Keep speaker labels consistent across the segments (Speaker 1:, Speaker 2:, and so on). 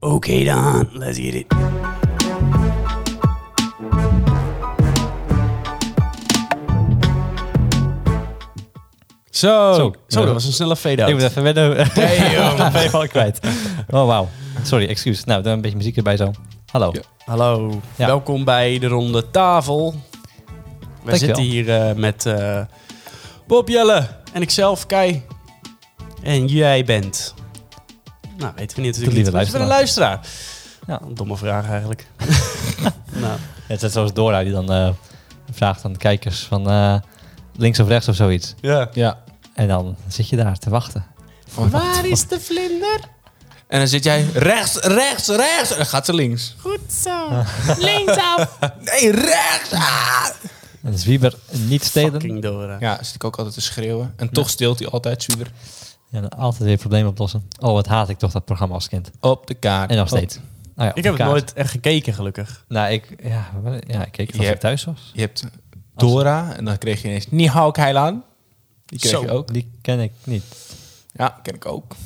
Speaker 1: Oké dan, let's get it.
Speaker 2: Zo,
Speaker 3: Zo,
Speaker 2: zo
Speaker 3: ja.
Speaker 2: dat was een snelle
Speaker 3: Ik
Speaker 2: fade-out.
Speaker 3: moet even wennen.
Speaker 2: Nee, joh.
Speaker 3: Ik ben je al kwijt. Oh, wauw. Sorry, excuus. Nou, dan een beetje muziek erbij zo. Hallo.
Speaker 2: Ja. Hallo,
Speaker 3: Ja.
Speaker 2: welkom bij de ronde tafel. We
Speaker 3: Dankjewel.
Speaker 2: zitten hier eh, met eh, Bob Jelle en ikzelf, Kai. En jij bent... Nou, weten we niet natuurlijk
Speaker 3: lieve
Speaker 2: niet. Maar ze zijn een
Speaker 3: Ja.
Speaker 2: luisteraar. Domme vraag eigenlijk. nou,
Speaker 3: Het is zoals Dora die dan eh, vraagt aan de kijkers van eh, links of rechts of zoiets.
Speaker 2: ja.
Speaker 4: Ja.
Speaker 3: En dan zit je daar te wachten.
Speaker 2: Waar is de vlinder?
Speaker 4: En dan zit jij rechts, rechts, rechts. En dan gaat ze links.
Speaker 2: Goed zo. Linksaf.
Speaker 4: Nee, rechts. Ah!
Speaker 3: En zwieber niet stelen.
Speaker 2: Fucking eh. Dora.
Speaker 4: Ja, zit ik ook altijd te schreeuwen. En toch steelt hij altijd zuur
Speaker 3: En dan altijd weer problemen oplossen. Oh, wat haat ik toch dat programma als kind.
Speaker 4: op de kaart.
Speaker 3: En nog steeds. Ah ja, op
Speaker 2: Oh. Ik heb
Speaker 3: de
Speaker 2: het
Speaker 3: kaart.
Speaker 2: nooit echt gekeken, gelukkig.
Speaker 3: Nou, ik, ja, wel- ja, ik keek het als
Speaker 4: Je
Speaker 3: ik thuis was.
Speaker 4: Je hebt Dora en dan kreeg je ineens Nihao Kailan. Die kreeg
Speaker 2: Zo.
Speaker 4: je ook.
Speaker 3: Die ken ik niet.
Speaker 4: Ja, ken ik ook.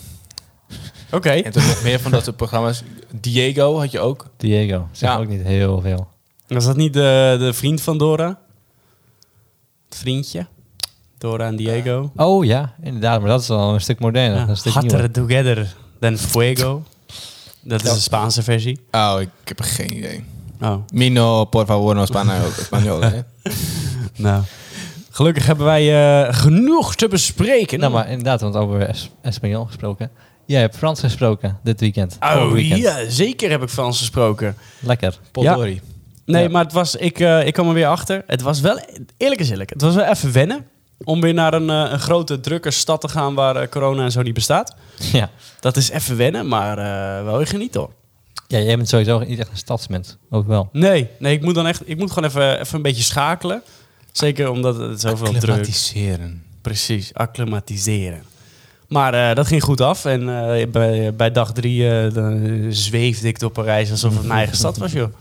Speaker 2: Oké.
Speaker 4: En toen nog meer van dat soort programma's. Diego had je ook.
Speaker 3: Diego. Zeg
Speaker 4: Ja.
Speaker 3: ook niet heel veel.
Speaker 2: Was dat niet de, de vriend van Dora? Het vriendje? Dora en Diego.
Speaker 3: Oh ja, inderdaad. Maar dat is al een stuk moderner.
Speaker 2: Ja.
Speaker 3: Een stuk nieuwer.
Speaker 2: Hotter together than fuego. Dat is de Spaanse versie.
Speaker 4: Oh, ik heb geen idee.
Speaker 2: Oh,
Speaker 4: Mino, por favor, no Spaniol. Spaniol hè?
Speaker 2: nou. Gelukkig hebben wij eh, genoeg te bespreken.
Speaker 3: Nou, maar inderdaad, want over Es- Espanol gesproken. Jij hebt Frans gesproken dit weekend.
Speaker 2: Oh
Speaker 3: Overweekend.
Speaker 2: ja, zeker heb ik Frans gesproken.
Speaker 3: Lekker.
Speaker 4: Potdorie.
Speaker 2: Nee,
Speaker 3: Ja.
Speaker 2: maar het was, ik, eh, ik kwam er weer achter. Het was wel, eerlijk is eerlijk, het was wel even wennen. Om weer naar een, eh, een grote, drukke stad te gaan waar eh, corona en zo niet bestaat.
Speaker 3: Ja.
Speaker 2: Dat is even wennen, maar eh, wel weer genieten hoor.
Speaker 3: ja, jij bent sowieso niet echt een stadsmens. Ook wel.
Speaker 2: Nee, nee ik moet dan echt, ik moet gewoon even, even een beetje schakelen. Zeker omdat het zoveel druk
Speaker 4: Klimatiseren.
Speaker 2: Precies, acclimatiseren. Maar eh, dat ging goed af. En eh, bij, bij dag drie eh, dan zweefde ik door Parijs alsof het mijn eigen stad was, joh.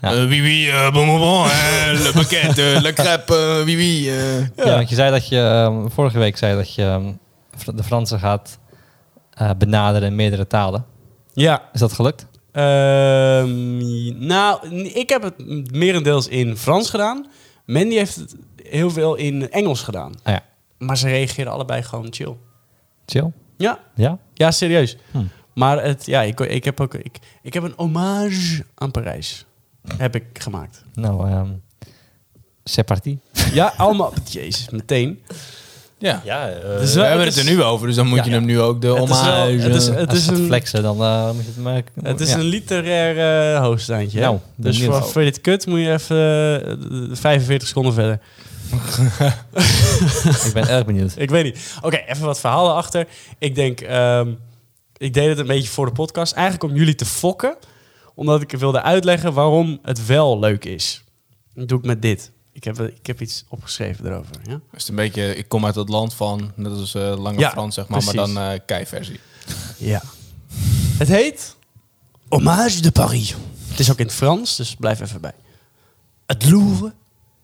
Speaker 3: Ja.
Speaker 4: Eh, oui, oui, eh, bon, bon, bon, eh, le pakket, eh, le crêpe, eh, oui, oui. eh.
Speaker 3: Ja, want je zei dat je ehm, vorige week zei dat je ehm, Fr- de Fransen gaat eh, benaderen in meerdere talen.
Speaker 2: Ja,
Speaker 3: Is dat gelukt?
Speaker 2: Ehm, nou, ik heb het merendeels in Frans gedaan. Mandy heeft het heel veel in Engels gedaan.
Speaker 3: Ah ja,
Speaker 2: Maar ze reageerden allebei gewoon chill.
Speaker 3: chill.
Speaker 2: Ja,
Speaker 3: Ja?
Speaker 2: ja serieus.
Speaker 3: Hm.
Speaker 2: Maar het, ja, ik, ik heb ook ik, ik heb een hommage aan Parijs. Heb ik gemaakt.
Speaker 3: Nou, ehm c'est parti.
Speaker 2: Ja, allemaal. Jezus, meteen.
Speaker 4: Ja.
Speaker 3: Ja,
Speaker 2: Het is
Speaker 4: Eh, we
Speaker 2: wel-
Speaker 4: hebben
Speaker 2: het
Speaker 4: het er
Speaker 2: is-
Speaker 4: nu over, dus dan moet
Speaker 3: Ja,
Speaker 4: je
Speaker 3: ja.
Speaker 4: hem nu ook dus, de
Speaker 2: Het is, wel,
Speaker 4: hommage...
Speaker 2: het is, het
Speaker 3: Als
Speaker 2: is
Speaker 3: je gaat
Speaker 2: een,
Speaker 3: flexen, dan eh, moet je het maken.
Speaker 2: het is
Speaker 3: Ja.
Speaker 2: een literair eh hoofdstandje. hè?
Speaker 3: Nou,
Speaker 2: dus
Speaker 3: benieuwd.
Speaker 2: voor, voor dit kut moet je even eh, 45 seconden verder.
Speaker 3: Ik ben erg benieuwd.
Speaker 2: Ik weet niet. Oké, even wat verhalen achter. Ik denk, ehm, ik deed het een beetje voor de podcast. Eigenlijk om jullie te fokken. Omdat ik wilde uitleggen waarom het wel leuk is. Dat doe ik met dit. Ik heb, ik heb iets opgeschreven erover. Ja?
Speaker 4: Het is een beetje, ik kom uit het land van, net als eh Lange
Speaker 2: Ja,
Speaker 4: Frans, zeg maar,
Speaker 2: precies.
Speaker 4: maar dan eh keiversie.
Speaker 2: ja. Het heet Hommage de Paris. Het is ook in het Frans, dus blijf even bij. Het Louvre,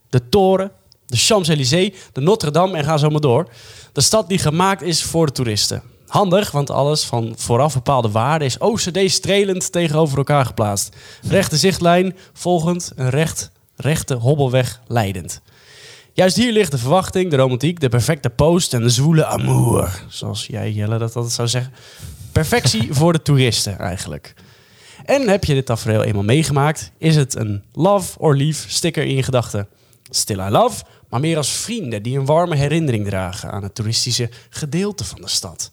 Speaker 2: de Toren, de Champs-Élysées, de Notre-Dame en ga zo maar door. De stad die gemaakt is voor de toeristen. Handig, want alles van vooraf bepaalde waarde is OCD-strelend tegenover elkaar geplaatst. Rechte zichtlijn, volgend een recht, rechte hobbelweg leidend. Juist hier ligt de verwachting, de romantiek, de perfecte post en de zwoele amour. Zoals jij, Jelle, dat altijd zou zeggen. Perfectie voor de toeristen eigenlijk. En heb je dit tafereel eenmaal meegemaakt, is het een love or leave sticker in je gedachten. Still I love, maar meer als vrienden die een warme herinnering dragen aan het toeristische gedeelte van de stad.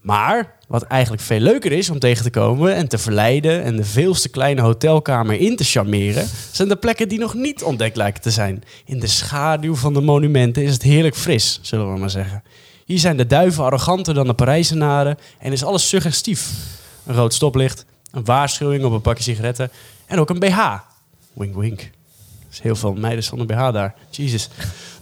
Speaker 2: Maar wat eigenlijk veel leuker is om tegen te komen en te verleiden en de veelste kleine hotelkamer in te charmeren, zijn de plekken die nog niet ontdekt lijken te zijn. In de schaduw van de monumenten is het heerlijk fris, zullen we maar zeggen. Hier zijn de duiven arroganter dan de Parijzenaren en is alles suggestief. Een rood stoplicht, een waarschuwing op een pakje sigaretten en ook een BH. Wink wink. Er is heel veel meiden zonder BH daar. Jezus.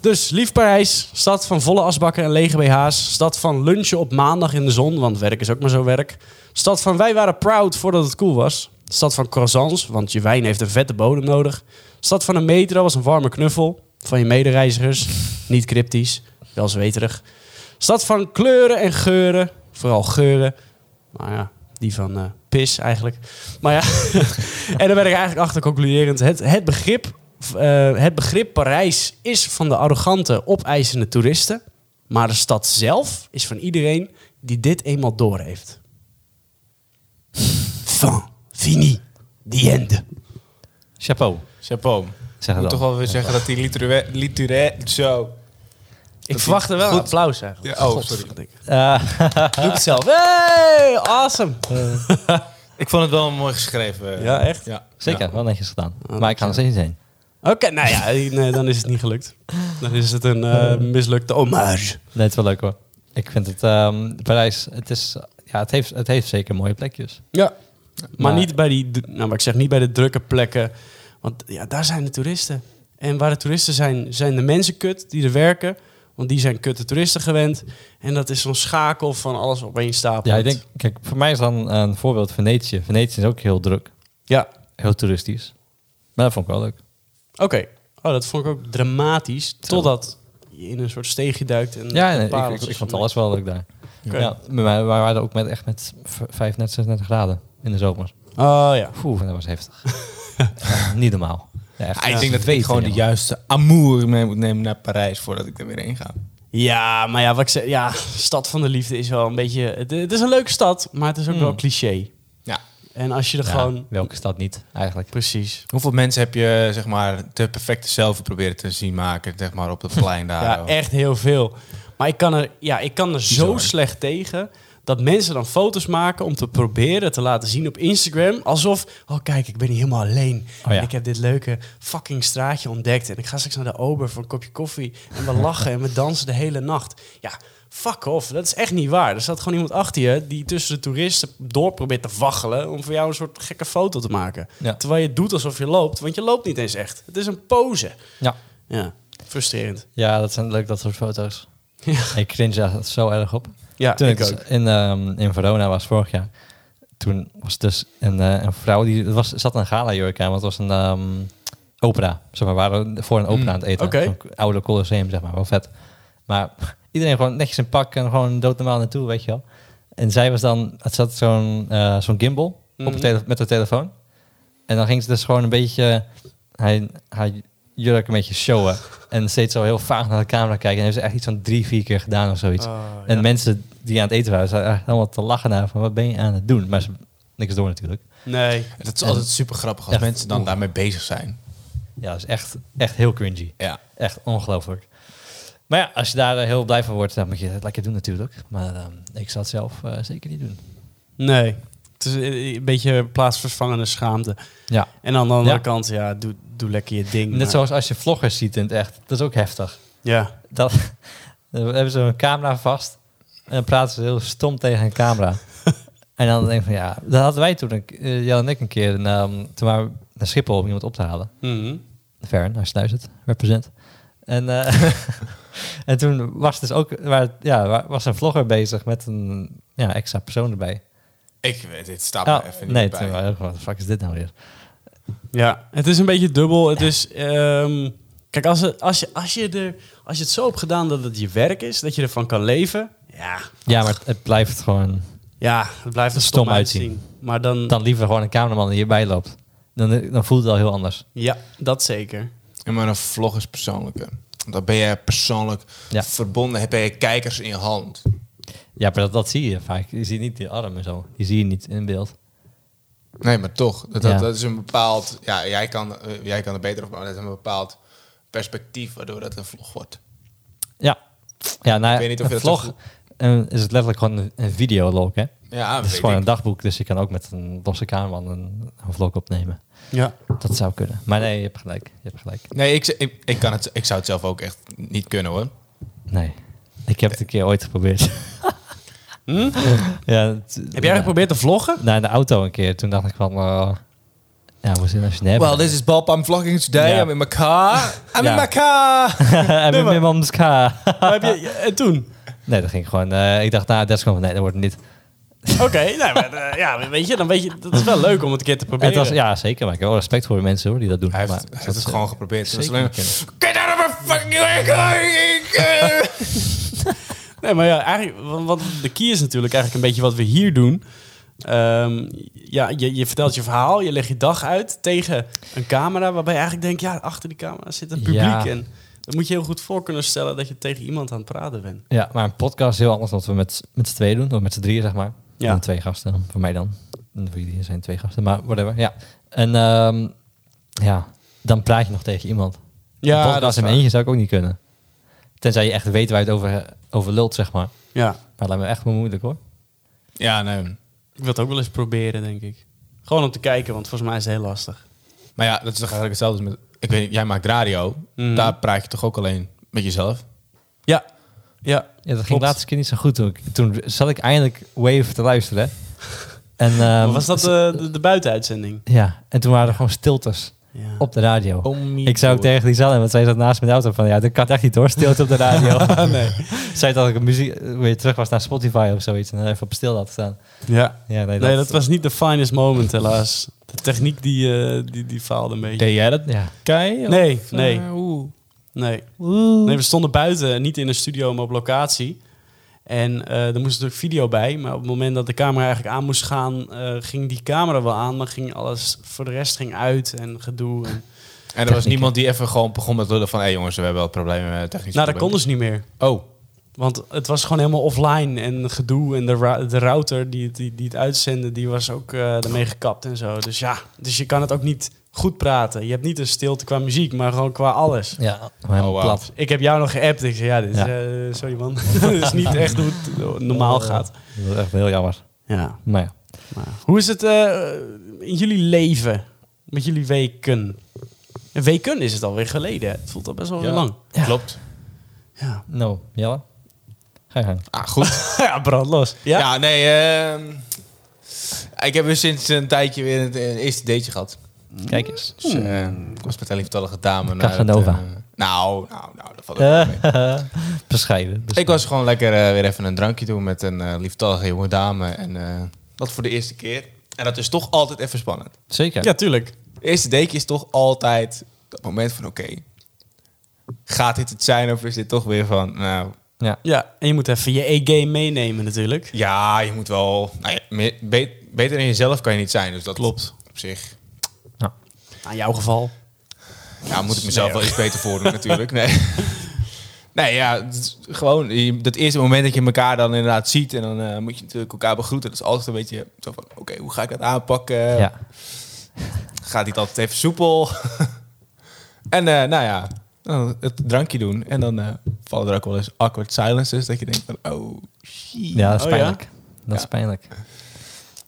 Speaker 2: Dus lief Parijs, stad van volle asbakken en lege BH's. Stad van lunchen op maandag in de zon, want werk is ook maar zo werk. Stad van wij waren proud voordat het cool was. Stad van croissants, want je wijn heeft een vette bodem nodig. Stad van een metro als een warme knuffel. Van je medereizigers, niet cryptisch, wel zweterig. Stad van kleuren en geuren, vooral geuren. Nou ja, Die van eh, pis eigenlijk. Maar ja, en dan ben ik eigenlijk achter concluderend. Het, het, begrip, eh, het begrip Parijs is van de arrogante, opeisende toeristen. Maar de stad zelf is van iedereen die dit eenmaal door heeft. Fin, fini, die ende.
Speaker 3: Chapeau.
Speaker 4: Chapeau.
Speaker 3: Zeg
Speaker 4: Ik
Speaker 3: het
Speaker 4: moet
Speaker 3: dan.
Speaker 4: toch wel weer zeggen dat die literair... literair- zo.
Speaker 2: Ik verwachtte wel een applaus eigenlijk.
Speaker 4: Ja, oh,
Speaker 2: Godverdikke.
Speaker 3: Eh,
Speaker 2: Doe het zelf. Hey, awesome.
Speaker 4: Ik vond het wel mooi geschreven.
Speaker 2: Ja, echt?
Speaker 4: Ja.
Speaker 3: zeker, wel netjes gedaan. maar ik ga er steeds niet heen.
Speaker 2: Oké, nou ja, nee, dan is het niet gelukt. Dan is het een eh, mislukte hommage.
Speaker 3: Nee, het is wel leuk hoor. Ik vind het, ehm, Parijs, het, is, ja, het, heeft, het heeft zeker mooie plekjes.
Speaker 2: Ja. Maar,
Speaker 3: Maar-
Speaker 2: niet bij die, d- nou, maar ik zeg niet bij de drukke plekken. Want ja, daar zijn de toeristen. En waar de toeristen zijn, zijn de mensen kut die er werken. Want die zijn kutte toeristen gewend. En dat is zo'n schakel van alles op één stapel.
Speaker 3: Ja, ik denk, kijk, voor mij is dan een voorbeeld Venetië. Venetië is ook heel druk,
Speaker 2: Ja,
Speaker 3: heel toeristisch. Maar dat vond ik wel leuk.
Speaker 2: oké. Oh, dat vond ik ook dramatisch. Totdat je in een soort steegje duikt. En
Speaker 3: Ja, nee,
Speaker 2: een
Speaker 3: ik,
Speaker 2: pareltjes
Speaker 3: ik, ik vond
Speaker 2: van-
Speaker 3: alles wel leuk daar.
Speaker 2: Oké.
Speaker 3: Ja, maar wij wij waren ook met, echt met v- 35, 36 graden in de zomer.
Speaker 2: Oh ja.
Speaker 3: Oeh, dat was heftig. Ja, niet normaal. Ja, echt.
Speaker 4: Ah, ik denk dat ik
Speaker 3: Zweten,
Speaker 4: gewoon de
Speaker 3: jongen.
Speaker 4: juiste amour mee moet nemen naar Parijs voordat ik er weer heen ga.
Speaker 2: Ja, maar ja, wat ik zei, ja, stad van de liefde is wel een beetje. Het, het is een leuke stad, maar het is ook wel cliché.
Speaker 4: Ja.
Speaker 2: En als je er
Speaker 3: Ja,
Speaker 2: gewoon.
Speaker 3: Welke stad niet, eigenlijk.
Speaker 2: Precies.
Speaker 4: Hoeveel mensen heb je zeg maar de perfecte zelf proberen te zien maken zeg maar op het plein daar?
Speaker 2: Ja, echt heel veel. Maar ik kan er, ja, ik kan er zo
Speaker 4: Bizar.
Speaker 2: slecht tegen dat mensen dan foto's maken om te proberen te laten zien op Instagram. Alsof, oh kijk, ik ben hier helemaal alleen.
Speaker 3: Oh ja.
Speaker 2: En ik heb dit leuke fucking straatje ontdekt. En ik ga straks naar de Ober voor een kopje koffie. En we lachen en we dansen de hele nacht. Ja, fuck off. Dat is echt niet waar. Er staat gewoon iemand achter je die tussen de toeristen door probeert te waggelen... om voor jou een soort gekke foto te maken.
Speaker 3: Ja.
Speaker 2: Terwijl je doet alsof je loopt, want je loopt niet eens echt. Het is een pose.
Speaker 3: Ja.
Speaker 2: Ja, frustrerend.
Speaker 3: ja, dat zijn leuk, dat soort foto's. Ik cringe daar zo erg op.
Speaker 2: Ja,
Speaker 3: Toen ik,
Speaker 2: ik ook.
Speaker 3: dus in, ehm, in Verona was vorig jaar, toen was dus een, eh, een vrouw die het was, zat een galajurk aan, want het was een ehm, opera. Zeg maar, we waren voor een opera aan het eten.
Speaker 2: Hmm, oké.
Speaker 3: Zo'n oude Colosseum, zeg maar, wel vet. Maar iedereen gewoon netjes in pak en gewoon doodnormaal naartoe, weet je wel. En zij was dan, het zat zo'n eh, zo'n gimbal op
Speaker 2: Hmm.
Speaker 3: de tele- met haar telefoon. En dan ging ze dus gewoon een beetje hij, haar jurk een beetje showen. En steeds zo heel vaag naar de camera kijken. En heeft ze echt iets van drie, vier keer gedaan of
Speaker 2: Oh.
Speaker 3: zoiets.
Speaker 2: Ah,
Speaker 3: En mensen die aan het eten waren, zaten echt helemaal te lachen naar van wat ben je aan het doen? Maar ze niks door natuurlijk.
Speaker 2: Nee.
Speaker 4: Dat is altijd super grappig als
Speaker 3: Echt.
Speaker 4: mensen dan daarmee bezig zijn.
Speaker 3: Ja, dat is echt, echt heel cringy.
Speaker 4: Ja.
Speaker 3: Echt ongelooflijk. Maar ja, als je daar eh, heel blij van wordt, dan moet je het lekker doen natuurlijk. Maar ehm, ik zou het zelf eh, zeker niet doen.
Speaker 2: Nee. Het is eh, een beetje plaatsvervangende schaamte.
Speaker 3: Ja.
Speaker 2: En aan de andere
Speaker 3: Ja.
Speaker 2: kant, ja, doe, doe lekker je ding. maar-
Speaker 3: Net zoals als je vloggers ziet in het echt. Dat is ook heftig.
Speaker 2: Ja.
Speaker 3: Dat, dan hebben ze een camera vast en dan praten ze heel stom tegen een camera. en dan denk ik van ja, dat hadden wij toen, een, eh, Jelle en ik een keer, een, ehm, toen waren we naar Schiphol om iemand op te halen.
Speaker 2: Mhm.
Speaker 3: Fern, als je luistert, represent. En, eh, en toen was dus ook, waar, ja, wa- was een vlogger bezig met een ja, extra persoon erbij.
Speaker 4: Ik weet, dit staat
Speaker 3: Ah,
Speaker 4: me even niet
Speaker 3: nee, toen
Speaker 4: bij.
Speaker 3: waren we wat de fuck is dit nou weer?
Speaker 2: ja, het is een beetje dubbel. Het is... ehm, kijk, als, het, als, je, als, je er, als je het zo hebt gedaan dat het je werk is, dat je ervan kan leven... Ja,
Speaker 3: Ja, maar het, het blijft gewoon,
Speaker 2: ja het blijft er
Speaker 3: Stom
Speaker 2: stom uitzien. Maar dan...
Speaker 3: dan liever gewoon een cameraman die hierbij loopt. Dan, dan voelt het al heel anders.
Speaker 2: Ja, dat zeker.
Speaker 4: Ja, maar een vlog is persoonlijker. Want Dan ben je persoonlijk
Speaker 3: Ja.
Speaker 4: verbonden, heb je kijkers in je hand.
Speaker 3: Ja, maar dat, dat zie je vaak. Je ziet niet die arm en zo. Die zie je niet in beeld.
Speaker 4: Nee, maar toch. Dat, dat,
Speaker 3: Ja.
Speaker 4: dat is een bepaald... Ja, jij kan, eh, jij kan er beter op, maar dat is een bepaald perspectief waardoor dat een vlog wordt.
Speaker 3: Ja. Ja, nou,
Speaker 4: Ik weet niet of je
Speaker 3: een
Speaker 4: dat
Speaker 3: vlog
Speaker 4: zo
Speaker 3: eh, is het letterlijk gewoon een, een videolog, hè?
Speaker 4: Ja,
Speaker 3: het
Speaker 4: weet
Speaker 3: is gewoon
Speaker 4: ik.
Speaker 3: een dagboek, dus je kan ook met een losse cameraman een, een vlog opnemen.
Speaker 2: Ja.
Speaker 3: Dat zou kunnen. Maar nee, je hebt gelijk. Je hebt gelijk.
Speaker 4: Nee, ik, ik, ik, kan het, ik zou het zelf ook echt niet kunnen hoor.
Speaker 3: Nee. Ik heb het een keer ooit geprobeerd. ja, het-
Speaker 2: Heb jij geprobeerd te vloggen?
Speaker 3: Nou, in de auto een keer. Toen dacht ik van... eh, ja, we zitten naar Genève.
Speaker 4: Well, this is Bob. I'm vlogging today.
Speaker 3: Ja.
Speaker 4: I'm in my car. I'm
Speaker 3: Ja.
Speaker 4: in my car.
Speaker 3: en met mijn man's ka.
Speaker 2: Maar heb je, en toen?
Speaker 3: nee, dat ging gewoon... eh, ik dacht, nou, dat is gewoon... Nee, dat wordt het niet.
Speaker 2: Oké, nou, maar, eh, ja, weet je, dan weet je... Dat is wel leuk om het een keer te proberen.
Speaker 3: Het was, ja, zeker. Maar ik heb wel respect voor de mensen hoor, die dat doen.
Speaker 4: Hij heeft,
Speaker 3: maar,
Speaker 4: hij
Speaker 3: dat
Speaker 4: heeft het
Speaker 3: is, eh,
Speaker 4: gewoon geprobeerd. Het was
Speaker 3: zeker
Speaker 4: alleen maar, Get out of my fucking way, guy! Ik, eh."
Speaker 2: Nee, maar ja, eigenlijk, want, want de key is natuurlijk eigenlijk een beetje wat we hier doen. Ehm, ja, je, je vertelt je verhaal, je legt je dag uit tegen een camera waarbij je eigenlijk denkt, ja, achter die camera zit een publiek.
Speaker 3: Ja.
Speaker 2: En dat moet je heel goed voor kunnen stellen dat je tegen iemand aan het praten bent.
Speaker 3: Ja, maar een podcast is heel anders dan wat we met, met z'n tweeën doen. Of met z'n drieën, zeg maar.
Speaker 2: Ja.
Speaker 3: En twee gasten, voor mij dan. En Voor jullie zijn twee gasten, maar whatever. Ja. En ehm, ja, dan praat je nog tegen iemand.
Speaker 2: Ja,
Speaker 3: een
Speaker 2: dat is
Speaker 3: podcast in
Speaker 2: waar.
Speaker 3: mijn eentje zou ik ook niet kunnen. Tenzij je echt weet waar je het over, over lult, zeg maar.
Speaker 2: Ja,
Speaker 3: Maar dat lijkt me echt wel moeilijk, hoor.
Speaker 4: Ja, nee.
Speaker 2: ik wil het ook wel eens proberen, denk ik. Gewoon om te kijken, want volgens mij is het heel lastig.
Speaker 4: Maar ja, dat is toch eigenlijk hetzelfde als met... Ik weet niet, jij maakt radio.
Speaker 2: Mhm.
Speaker 4: Daar praat je toch ook alleen met jezelf?
Speaker 2: Ja, ja.
Speaker 3: Ja, dat ging
Speaker 2: Klopt.
Speaker 3: de laatste keer niet zo goed. Toen, ik- toen zat ik eindelijk Wave te luisteren. En, ehm,
Speaker 2: Maar was dat
Speaker 3: ze-
Speaker 2: de, de, de buitenuitzending?
Speaker 3: Ja, en toen waren er gewoon stiltes
Speaker 2: Ja.
Speaker 3: op de radio.
Speaker 4: Oh,
Speaker 3: ik zou ook tegen die Sally, want zij zat naast me in de auto van... Ja, dat kan echt niet hoor, stilte op de radio. nee. Zij dat ik een muziek eh, weer terug was naar Spotify of zoiets. En dan even op stil had staan.
Speaker 2: ja.
Speaker 3: Ja, nee, dat,
Speaker 2: Nee, dat was niet de finest moment, helaas. De techniek die, eh, die, die faalde een beetje.
Speaker 4: Deed jij dat?
Speaker 3: Ja,
Speaker 4: Kei? of,
Speaker 2: Nee,
Speaker 4: eh,
Speaker 2: nee.
Speaker 4: hoe?
Speaker 2: Nee. Nee, we stonden buiten, niet in een studio, maar op locatie. En eh er moest natuurlijk video bij. Maar op het moment dat de camera eigenlijk aan moest gaan, eh, ging die camera wel aan. Maar ging alles voor de rest ging uit en gedoe. En...
Speaker 4: En er was niemand die even gewoon begon met lullen van... Hé hey jongens, we hebben wel problemen met technische
Speaker 2: Nou, dat konden
Speaker 4: problemen.
Speaker 2: ze niet meer.
Speaker 4: Oh,
Speaker 2: Want het was gewoon helemaal offline en gedoe. En de, ra- de router die, het- die, die het uitzende, die was ook eh ermee gekapt en zo. Dus ja, dus je kan het ook niet goed praten. Je hebt niet een stilte qua muziek, maar gewoon qua alles.
Speaker 3: ja maar helemaal
Speaker 4: Oh, wauw.
Speaker 3: plat.
Speaker 2: Ik heb jou nog geappt. Ik zei, ja, dit is,
Speaker 3: Ja.
Speaker 2: eh, sorry man. dit is niet echt hoe het normaal gaat.
Speaker 3: Eh, Dat is echt heel jammer.
Speaker 2: Ja.
Speaker 3: Maar ja.
Speaker 2: Maar hoe is het eh, in jullie leven? Met jullie weken? Een weken is het alweer geleden. hè? Het voelt al best wel
Speaker 4: Ja.
Speaker 2: lang.
Speaker 4: klopt.
Speaker 2: Ja,
Speaker 3: Nou, Jelle? Ga je gang.
Speaker 4: Ah, goed.
Speaker 2: ja brand los. Ja?
Speaker 4: ja?
Speaker 2: ja.
Speaker 4: nee. ehm, ik heb weer sinds een tijdje weer een, een eerste dateje gehad.
Speaker 3: Kijk eens.
Speaker 4: Dus,
Speaker 2: Hmm.
Speaker 4: eh, ik was met een lieftallige dame. naar het,
Speaker 3: Casanova.
Speaker 4: eh, nou, nou, nou, dat valt ook wel mee.
Speaker 3: Eh, bescheiden.
Speaker 4: Ik was gewoon lekker eh, weer even een drankje doen met een eh lieftallige jonge dame. En eh, dat voor de eerste keer. En dat is toch altijd even spannend.
Speaker 3: Zeker.
Speaker 2: tuurlijk.
Speaker 4: Het eerste dateje is toch altijd dat moment van... Oké, gaat dit het zijn of is dit toch weer van... Nou,
Speaker 3: Ja.
Speaker 2: Ja, en je moet even je E-game meenemen natuurlijk.
Speaker 4: ja, je moet wel... nou ja, meer- be- beter dan jezelf kan je niet zijn. Dus dat klopt op zich.
Speaker 2: Nou, in jouw geval.
Speaker 4: Ja, moet ik mezelf
Speaker 2: Nee,
Speaker 4: wel iets beter voordoen natuurlijk. Nee. Nee, ja, het is gewoon je- dat eerste moment dat je elkaar dan inderdaad ziet... en dan eh, moet je natuurlijk elkaar begroeten. Dat is altijd een beetje zo van, oké, hoe ga ik dat aanpakken?
Speaker 3: ja.
Speaker 4: Gaat niet altijd even soepel? en eh, nou ja, dan het drankje doen. En dan eh, vallen er ook wel eens awkward silences... dat je denkt van, oh, shit.
Speaker 3: Ja, dat is
Speaker 2: Oh,
Speaker 3: pijnlijk. Dat is
Speaker 4: Ja.
Speaker 3: pijnlijk.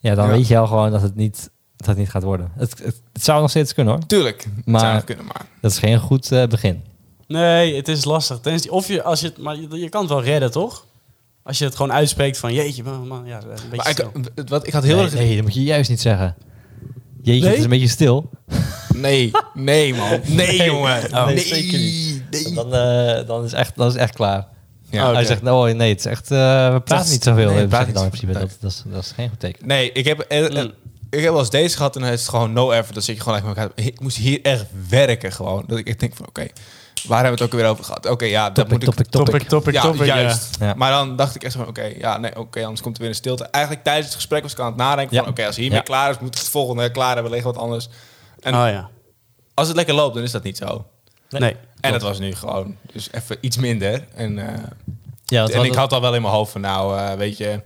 Speaker 3: Ja, dan
Speaker 4: Ja.
Speaker 3: weet je al gewoon dat het niet, dat het niet gaat worden. Het, het, het zou nog steeds kunnen hoor.
Speaker 4: Tuurlijk, maar...
Speaker 3: Maar-
Speaker 4: zou nog kunnen, maar...
Speaker 3: Dat is geen goed eh, begin.
Speaker 2: Nee, het is lastig. Tenzij- Of je, als je het, maar je, je kan het wel redden, toch? Als je het gewoon uitspreekt van, jeetje, man, man ja, een beetje
Speaker 4: Maar ik,
Speaker 2: stil.
Speaker 4: het- wat, ik had heel
Speaker 3: nee,
Speaker 4: erg...
Speaker 3: nee, dat moet je juist niet zeggen. Jeetje,
Speaker 2: Nee?
Speaker 3: het is een beetje stil.
Speaker 4: Nee, nee, man. Nee, jongen.
Speaker 3: Oh,
Speaker 4: nee,
Speaker 3: zeker niet.
Speaker 4: nee.
Speaker 3: Dan, eh, dan, is echt, dan is echt klaar.
Speaker 4: Ja,
Speaker 3: Hij
Speaker 4: oké.
Speaker 3: zegt, nou nee, het is echt, eh, we praten
Speaker 4: is-
Speaker 3: niet zoveel.
Speaker 4: nee,
Speaker 3: Nee,
Speaker 4: we praten
Speaker 3: dan in
Speaker 4: niet
Speaker 3: principe.
Speaker 4: zoveel.
Speaker 3: Dat, dat, is, dat is geen goed teken.
Speaker 4: Nee, ik heb, eh, eh,
Speaker 2: Mm.
Speaker 4: ik heb wel eens deze gehad en dan is het gewoon no effort. Dan zit je gewoon echt met elkaar. Ik moest hier echt werken gewoon. Dat ik echt denk van oké, waar hebben we het ook weer over gehad? Oké, ja, dat moet
Speaker 3: Topic, topic,
Speaker 4: ik...
Speaker 2: topic,
Speaker 3: topic.
Speaker 2: topic,
Speaker 4: ja,
Speaker 2: topic, ja.
Speaker 4: juist.
Speaker 3: Ja.
Speaker 4: Maar dan dacht ik echt van oké, ja, nee, oké, anders komt er weer een stilte. Eigenlijk tijdens het gesprek was ik aan het nadenken
Speaker 3: Ja.
Speaker 4: van oké, als hiermee
Speaker 3: Ja.
Speaker 4: klaar is, moet ik het volgende klaar hebben, liggen wat anders. En
Speaker 2: Oh ja.
Speaker 4: als het lekker loopt, dan is dat niet zo.
Speaker 2: Nee.
Speaker 4: En dat was nu gewoon, dus even iets minder. En, eh,
Speaker 3: Ja, dat
Speaker 4: en
Speaker 3: was-
Speaker 4: ik had al wel in mijn hoofd van nou, eh, weet je,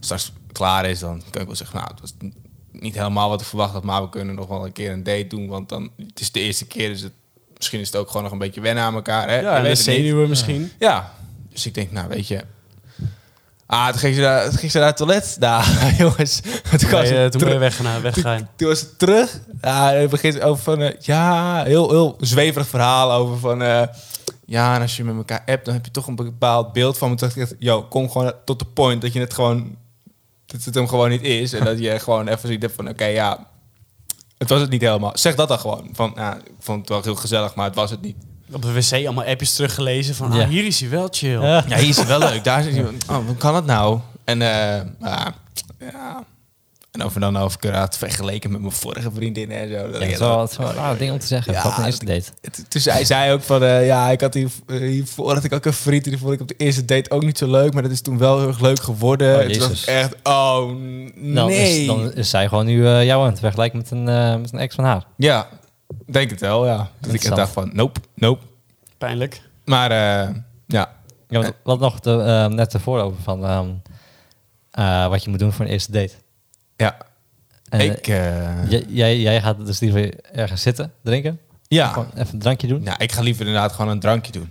Speaker 4: straks het klaar is, dan kan ik wel zeggen, nou, het was n- niet helemaal wat ik verwacht had, maar we kunnen nog wel een keer een date doen, want dan het is de eerste keer, dus het, misschien is het ook gewoon nog een beetje wennen aan elkaar. Hè? Je
Speaker 2: Ja, Eh, en
Speaker 4: weet
Speaker 2: een
Speaker 4: het niet.
Speaker 2: zenuwen misschien.
Speaker 4: Ja, dus ik denk, nou, weet je. Ah, toen ging ze naar, toen ging ze naar het toilet. Nou, jongens, toen, kwam
Speaker 2: Nee,
Speaker 4: ze
Speaker 2: eh, toen ben je
Speaker 4: terug,
Speaker 2: weggaan, weggaan.
Speaker 4: toen, toen was ze terug. Ja, en het begint over van, eh, ja, heel, heel zweverig verhaal over van, eh, ja, en als je met elkaar appt, dan heb je toch een bepaald beeld van me. Toen dacht ik, echt, yo, kom gewoon tot de point dat je het gewoon, dat het hem gewoon niet is. En dat je gewoon even ziet van, oké, ja, het was het niet helemaal. Zeg dat dan gewoon. Van, ja, ik vond het wel heel gezellig, maar het was het niet.
Speaker 2: Op de wc allemaal appjes teruggelezen van,
Speaker 3: Ja.
Speaker 2: ah, hier is hij wel chill.
Speaker 3: Ja.
Speaker 4: Ja, hier is het wel leuk. Daar is het, oh, hoe kan het nou? En eh, maar, ja, En over dan over Curaat vergeleken met mijn vorige vriendin en zo. Dat
Speaker 3: Ja,
Speaker 4: ik-
Speaker 3: het is wel, het is wel een raar ding om te zeggen.
Speaker 4: Ja,
Speaker 3: Ja, een eerste date.
Speaker 4: Het- Toen zei zij ook van, eh, ja, ik had hier, eh, hiervoor had ik ook een vriend... en die vond ik op de eerste date ook niet zo leuk... maar dat is toen wel heel erg leuk geworden.
Speaker 3: Oh,
Speaker 4: En toen was
Speaker 3: Jezus.
Speaker 4: ik echt, oh,
Speaker 3: Dan,
Speaker 4: nee.
Speaker 3: is, dan is zij gewoon nu eh, jou aan het vergelijken met een, eh, met een ex van haar.
Speaker 4: Ja, denk het wel, ja. Dat ik echt
Speaker 3: Interessant.
Speaker 4: dacht van, nope, nope.
Speaker 2: Pijnlijk.
Speaker 4: Maar eh, ja,
Speaker 3: Ja, want wat nog de, eh, net ervoor over van ehm, eh, wat je moet doen voor een eerste date.
Speaker 4: ja.
Speaker 3: En,
Speaker 4: ik, eh,
Speaker 3: eh, j- jij, jij gaat dus liever ergens zitten, drinken.
Speaker 4: ja.
Speaker 3: Gewoon even een drankje doen. Ja.
Speaker 4: ja, ik ga liever inderdaad gewoon een drankje doen.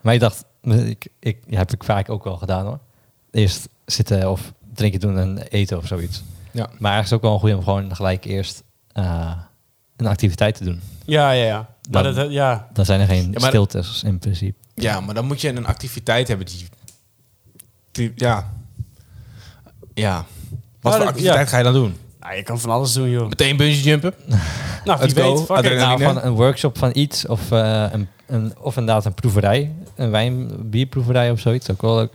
Speaker 3: Maar ik dacht, ik, ik, ja, heb ik vaak ook wel gedaan hoor. Eerst zitten of drinken doen en eten of zoiets.
Speaker 4: Ja.
Speaker 3: Maar het is ook wel een goede om gewoon gelijk eerst eh, een activiteit te doen.
Speaker 2: Ja, ja, ja. Maar
Speaker 3: Dan-
Speaker 2: dat, ja.
Speaker 3: Dan zijn er geen
Speaker 4: Ja, maar-
Speaker 3: stiltes in principe.
Speaker 4: Ja, maar dan moet je een activiteit hebben die... die- ja. Ja. Wat
Speaker 2: Maar
Speaker 4: voor
Speaker 2: dat- ja.
Speaker 4: activiteit ga je dan doen?
Speaker 2: Nou, je kan van alles doen, joh.
Speaker 4: Meteen bungee jumpen?
Speaker 2: Nou,
Speaker 4: let's
Speaker 2: wie
Speaker 4: go.
Speaker 2: weet. Fuck it.
Speaker 4: Adrenaline.
Speaker 3: Nou, van een workshop van iets of, eh, een, een, of inderdaad een proeverij. Een wijn, bierproeverij of zoiets, ook wel leuk.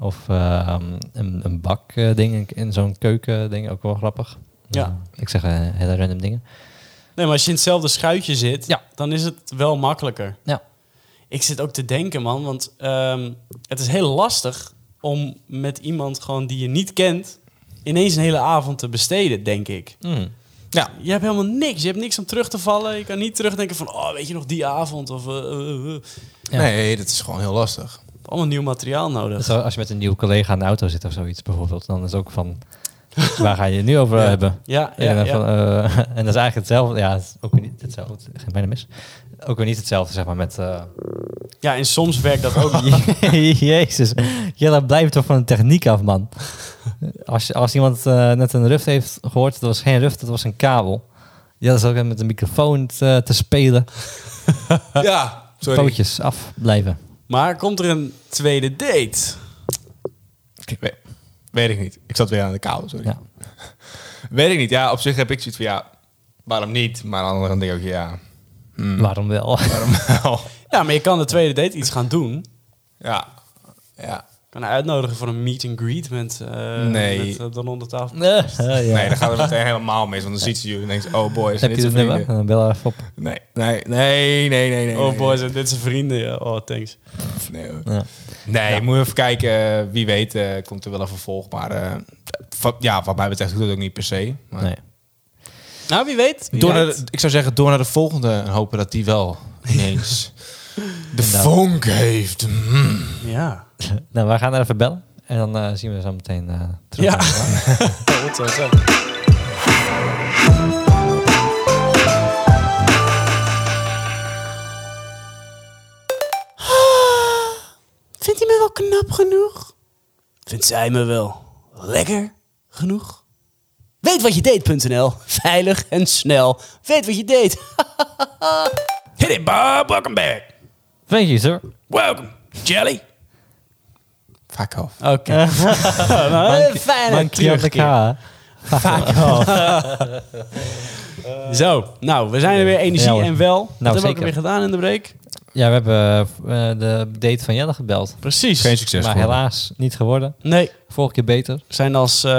Speaker 3: Of eh, een, een bak eh, ding in- in zo'n keuken ding, ook wel grappig.
Speaker 2: Ja.
Speaker 3: Eh, ik zeg eh, hele random dingen.
Speaker 2: Nee, maar als je in hetzelfde schuitje zit,
Speaker 3: Ja.
Speaker 2: dan is het wel makkelijker.
Speaker 3: Ja.
Speaker 2: Ik zit ook te denken, man, want ehm, het is heel lastig om met iemand gewoon die je niet kent ineens een hele avond te besteden, denk ik.
Speaker 4: Hmm. Ja.
Speaker 2: Je hebt helemaal niks. Je hebt niks om terug te vallen. Je kan niet terugdenken van, oh, weet je nog die avond? Of eh, eh, eh.
Speaker 3: Ja.
Speaker 4: Nee, dat is gewoon heel lastig.
Speaker 2: allemaal nieuw materiaal nodig.
Speaker 3: Dus als je met een nieuwe collega in de auto zit of zoiets bijvoorbeeld, dan is het ook van, waar ga je het nu over
Speaker 4: Ja.
Speaker 3: hebben?
Speaker 2: Ja, ja,
Speaker 3: En,
Speaker 2: ja,
Speaker 3: dan van, eh, en dat is eigenlijk hetzelfde. Ja, het is ook weer niet hetzelfde. Het ging bijna mis. Ook weer niet hetzelfde, zeg maar, met... eh,
Speaker 2: Ja, en soms werkt dat ook.
Speaker 3: Jezus. Jelle, blijf toch van de techniek af, man. Als, je- als iemand eh, net een ruft heeft gehoord, dat was geen ruft, dat was een kabel. Jelle zat ook met een microfoon te, te spelen.
Speaker 4: ja, sorry.
Speaker 3: Pootjes af blijven.
Speaker 2: Maar komt er een tweede date?
Speaker 4: Ik weet, weet ik niet. Ik zat weer aan de kabel, sorry.
Speaker 3: Ja.
Speaker 4: Weet ik niet. Ja, op zich heb ik zoiets van, ja, waarom niet? Maar aan de andere kant denk ik ook, ja,
Speaker 3: Waarom wel?
Speaker 4: waarom wel?
Speaker 2: Ja, maar je kan de tweede date iets gaan doen.
Speaker 4: ja, ja.
Speaker 2: kan haar uitnodigen voor een meet and greet met, eh
Speaker 4: Nee.
Speaker 2: met eh, dan onder tafel.
Speaker 3: Nee, ja.
Speaker 4: Nee, dan gaat het meteen helemaal mis. Want dan ziet ze jullie en denkt ze, oh boy, zijn
Speaker 3: Heb je
Speaker 4: dit zijn
Speaker 3: het nummer?
Speaker 4: vrienden?
Speaker 3: Dan bel even op.
Speaker 4: Nee, nee, nee, nee, nee. nee, nee.
Speaker 2: oh boys, en dit zijn vrienden. Ja. Oh, thanks.
Speaker 4: Nee, hoor.
Speaker 3: Ja.
Speaker 4: nee moet even kijken. Wie weet eh, komt er wel een vervolg. Maar eh, va- ja, wat mij betreft doet het ook niet per se. Maar
Speaker 3: Nee.
Speaker 2: Nou, wie weet.
Speaker 4: door naar de- ik zou zeggen, door naar de volgende en hopen dat die wel ineens de
Speaker 3: Inderdaad.
Speaker 4: vonk heeft. Mm.
Speaker 2: Ja.
Speaker 3: Nou, wij gaan er even bellen. En dan eh, zien we zo meteen eh, terug.
Speaker 2: Ja. Goed zo,
Speaker 1: Ah,
Speaker 2: zo. Oké,
Speaker 1: Vindt hij me wel knap genoeg?
Speaker 2: Vindt zij me wel lekker genoeg?
Speaker 1: Weet wat je deed.nl. Veilig en snel. Weet wat je deed.
Speaker 2: Hit it, Bob. Welcome back.
Speaker 3: Thank you, sir.
Speaker 2: Welcome, Jelly.
Speaker 4: Fuck off.
Speaker 2: Oké.
Speaker 1: Eh, Een fijne
Speaker 3: Dank je wel.
Speaker 1: terugkeer.
Speaker 2: Zo, nou, we zijn er weer energie
Speaker 3: Ja, hoor.
Speaker 2: en wel. Dat hebben we ook
Speaker 3: zeker.
Speaker 2: weer gedaan in de break.
Speaker 3: Ja, we hebben eh, de date van Jelle gebeld.
Speaker 2: Precies.
Speaker 4: Geen succes.
Speaker 3: maar
Speaker 4: geworden.
Speaker 3: helaas niet geworden.
Speaker 2: Nee,
Speaker 3: Vorige keer beter.
Speaker 2: we zijn als eh,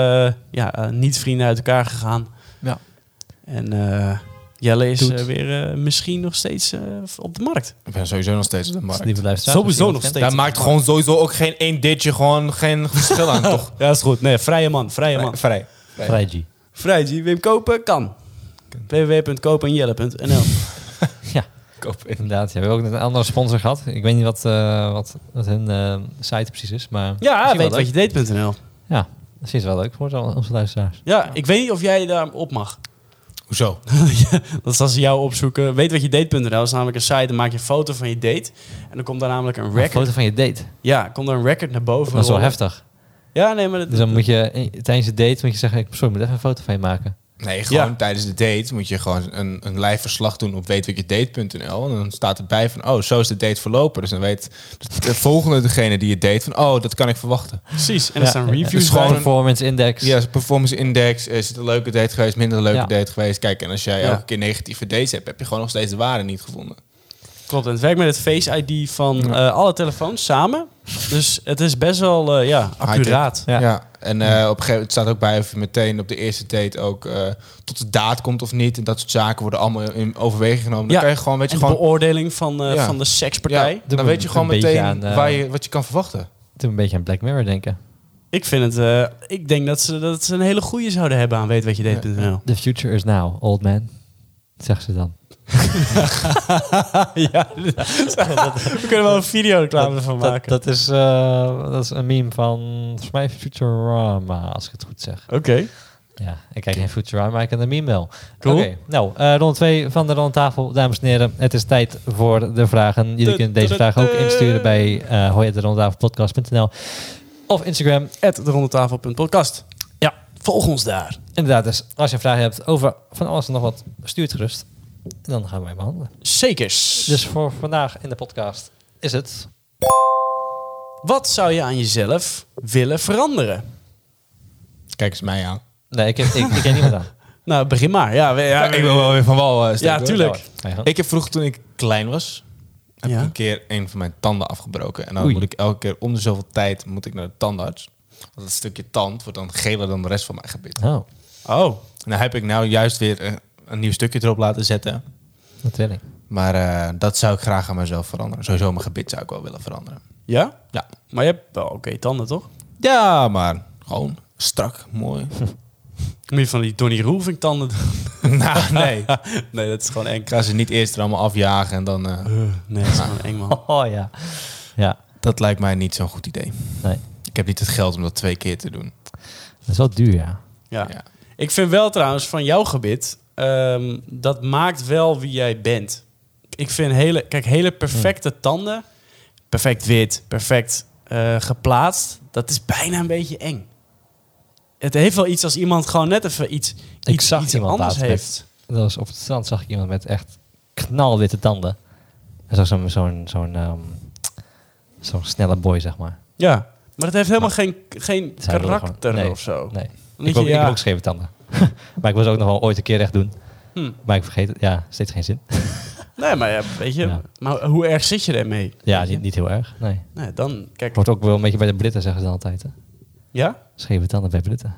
Speaker 2: ja, eh, niet-vrienden uit elkaar gegaan.
Speaker 3: Ja.
Speaker 2: En eh, Jelle is
Speaker 3: Doet.
Speaker 2: eh, weer eh, misschien nog steeds eh, op de markt.
Speaker 4: Ik ben sowieso nog steeds op de markt.
Speaker 3: Lieve luisteraars.
Speaker 2: Sowieso
Speaker 3: als iemand
Speaker 2: nog
Speaker 3: kent.
Speaker 2: steeds.
Speaker 4: Daar maakt gewoon sowieso ook geen één ditje gewoon geen verschil aan, toch?
Speaker 2: Ja, is goed. Nee, vrije man, vrije man.
Speaker 4: Vrij.
Speaker 3: Vrij G.
Speaker 2: Vrij, G. Wim kopen kan. www.kopenjelle.nl
Speaker 3: Ja,
Speaker 4: Koop in.
Speaker 3: inderdaad. Ja, we hebben ook net een andere sponsor gehad. Ik weet niet wat, eh, wat, wat hun eh, site precies is, maar...
Speaker 2: Ja,
Speaker 3: misschien wel
Speaker 2: weet wat
Speaker 3: leuk.
Speaker 2: je deed.nl.
Speaker 3: Ja, dat is wel leuk voor al- onze luisteraars.
Speaker 2: Ja, ik weet niet of jij daar op mag.
Speaker 4: Hoezo?
Speaker 2: Dat is als ze jou opzoeken. Weet wat je date.nl is namelijk een site. Dan maak je een foto van je date. En dan komt daar namelijk een
Speaker 3: Een
Speaker 2: record.
Speaker 3: foto van je date.
Speaker 2: Ja, komt er een record naar boven.
Speaker 3: Dat is wel
Speaker 2: rollen.
Speaker 3: heftig.
Speaker 2: Ja, nee, maar dat,
Speaker 3: Dus dan moet je eh, tijdens je date moet je zeggen... Sorry, ik moet even een foto van je maken.
Speaker 4: Nee, gewoon
Speaker 2: Ja.
Speaker 4: tijdens de date moet je gewoon een, een live verslag doen op weetwatjedate.nl. En dan staat erbij van, oh, zo is de date verlopen. Dus dan weet de, de volgende degene die je date van, oh, dat kan ik verwachten.
Speaker 2: precies. En er
Speaker 3: Ja,
Speaker 2: staan
Speaker 3: ja.
Speaker 2: reviews
Speaker 4: Dus gewoon-
Speaker 2: bij.
Speaker 3: Performance index.
Speaker 4: Ja, is een performance index, eh, is het een leuke date geweest, minder een leuke
Speaker 3: Ja.
Speaker 4: date geweest. Kijk, en als jij
Speaker 2: Ja.
Speaker 4: elke keer negatieve dates hebt, heb je gewoon nog steeds de waarde niet gevonden.
Speaker 2: Klopt, en het werkt met het Face ID van eh, alle telefoons samen. Dus het is best wel eh, ja, accuraat.
Speaker 3: Ja.
Speaker 4: Ja. En eh, op een gegeven moment het staat ook bij of je meteen op de eerste date ook eh, tot de daad komt of niet. En dat soort zaken worden allemaal in overweging genomen. Dan
Speaker 2: Ja.
Speaker 4: kan je gewoon, weet je,
Speaker 2: En de
Speaker 4: gewoon,
Speaker 2: beoordeling van, eh,
Speaker 4: Ja.
Speaker 2: van de
Speaker 4: ja,
Speaker 2: sekspartij.
Speaker 4: dan
Speaker 3: Doe
Speaker 4: weet je
Speaker 3: een
Speaker 4: gewoon
Speaker 3: beetje
Speaker 4: meteen
Speaker 3: aan, eh,
Speaker 4: waar je, wat je kan verwachten.
Speaker 3: Toen een beetje aan Black Mirror denken.
Speaker 2: Ik vind het, eh, ik denk dat ze, dat ze een hele goede zouden hebben aan weetwatjedeed.nl.
Speaker 3: The future is now, old man. Zegt ze dan.
Speaker 2: ja, we kunnen wel een videoreclame ervan
Speaker 3: Dat,
Speaker 2: maken.
Speaker 3: dat, is, eh, dat is een meme van, volgens mij, Futurama, als ik het goed zeg.
Speaker 2: Oké.
Speaker 3: Ja, ik kijk geen Futurama, maar ik ken de meme wel.
Speaker 2: Cool.
Speaker 3: Oké, nou, eh ronde 2 van de ronde tafel. Dames en heren, het is tijd voor de vragen. Jullie kunnen deze vraag ook insturen bij eh hoiatarondeltafelpodcast.nl of Instagram.
Speaker 2: At de rondetafel.podcast. Ja, volg ons daar.
Speaker 3: Inderdaad, dus als je een vraag hebt over van alles en nog wat, stuur het gerust. En dan gaan wij behandelen.
Speaker 2: Zekers.
Speaker 3: Dus voor vandaag in de podcast is het...
Speaker 2: Wat zou je aan jezelf willen veranderen?
Speaker 4: Kijk eens mij aan.
Speaker 3: Nee, ik heb, ik, ik heb niet gedaan.
Speaker 2: Nou, begin maar. Ja, we- ja,
Speaker 4: Ja, ik wil wel weer van wal. eh, steken,
Speaker 2: Ja,
Speaker 4: hoor.
Speaker 2: tuurlijk.
Speaker 3: Ja, ja.
Speaker 4: Ik heb vroeger toen ik klein was, heb
Speaker 2: Ja.
Speaker 4: ik een keer een van mijn tanden afgebroken. En dan
Speaker 3: Oei.
Speaker 4: moet ik elke keer om de zoveel tijd moet ik naar de tandarts. Want dat stukje tand wordt dan geler dan de rest van mijn gebit.
Speaker 3: Oh,
Speaker 2: Oh,
Speaker 4: En daar heb ik nou juist weer eh, een nieuw stukje erop laten zetten.
Speaker 3: natuurlijk.
Speaker 4: Maar eh, dat zou ik graag aan mezelf veranderen. Sowieso mijn gebit zou ik wel willen veranderen.
Speaker 2: ja?
Speaker 4: Ja,
Speaker 2: Maar je hebt wel oké tanden, toch?
Speaker 4: ja maar gewoon strak, mooi.
Speaker 2: Moet je van die Donnie Roelvink tanden doen?
Speaker 4: nou, nee.
Speaker 2: nee, dat is gewoon eng.
Speaker 4: Ik ga ze niet eerst er allemaal afjagen en dan... eh,
Speaker 2: nee, dat is gewoon eng, man.
Speaker 3: Oh ja. Ja,
Speaker 4: dat lijkt mij niet zo'n goed idee.
Speaker 3: nee.
Speaker 4: Ik heb niet het geld om dat twee keer te doen.
Speaker 3: Dat is wel duur, ja.
Speaker 2: Ja.
Speaker 4: Ja.
Speaker 2: Ik vind wel trouwens van jouw gebit, ehm, dat maakt wel wie jij bent. Ik vind hele, kijk, hele perfecte tanden, perfect wit, perfect eh, geplaatst, dat is bijna een beetje eng. Het heeft wel iets als iemand gewoon net even iets,
Speaker 3: Ik
Speaker 2: iets,
Speaker 3: zag
Speaker 2: iets
Speaker 3: iemand
Speaker 2: anders
Speaker 3: laatst
Speaker 2: heeft.
Speaker 3: Dat was op het strand zag ik iemand met echt knalwitte tanden. En zag zo'n zo'n zo'n ehm, zo'n snelle boy, zeg maar.
Speaker 2: Ja, maar dat heeft helemaal geen, geen
Speaker 3: Zij wilde
Speaker 2: karakter
Speaker 3: gewoon- nee,
Speaker 2: of zo.
Speaker 3: Nee. Ik,
Speaker 2: Weet
Speaker 3: heb
Speaker 2: je,
Speaker 3: ook, ik
Speaker 2: ja.
Speaker 3: heb ook scheve tanden. maar ik wil ze ook nog wel ooit een keer recht doen.
Speaker 2: Hm.
Speaker 3: Maar ik vergeet het. Ja, steeds geen zin.
Speaker 2: Nee, maar ja, weet je,
Speaker 3: Ja.
Speaker 2: maar hoe erg zit je daarmee?
Speaker 3: Ja, niet, niet heel erg. Nee.
Speaker 2: Nee, dan, kijk,
Speaker 3: Wordt ook wel een beetje bij de Britten, zeggen ze dan altijd. Hè?
Speaker 2: ja?
Speaker 3: Scheve tanden bij Britten.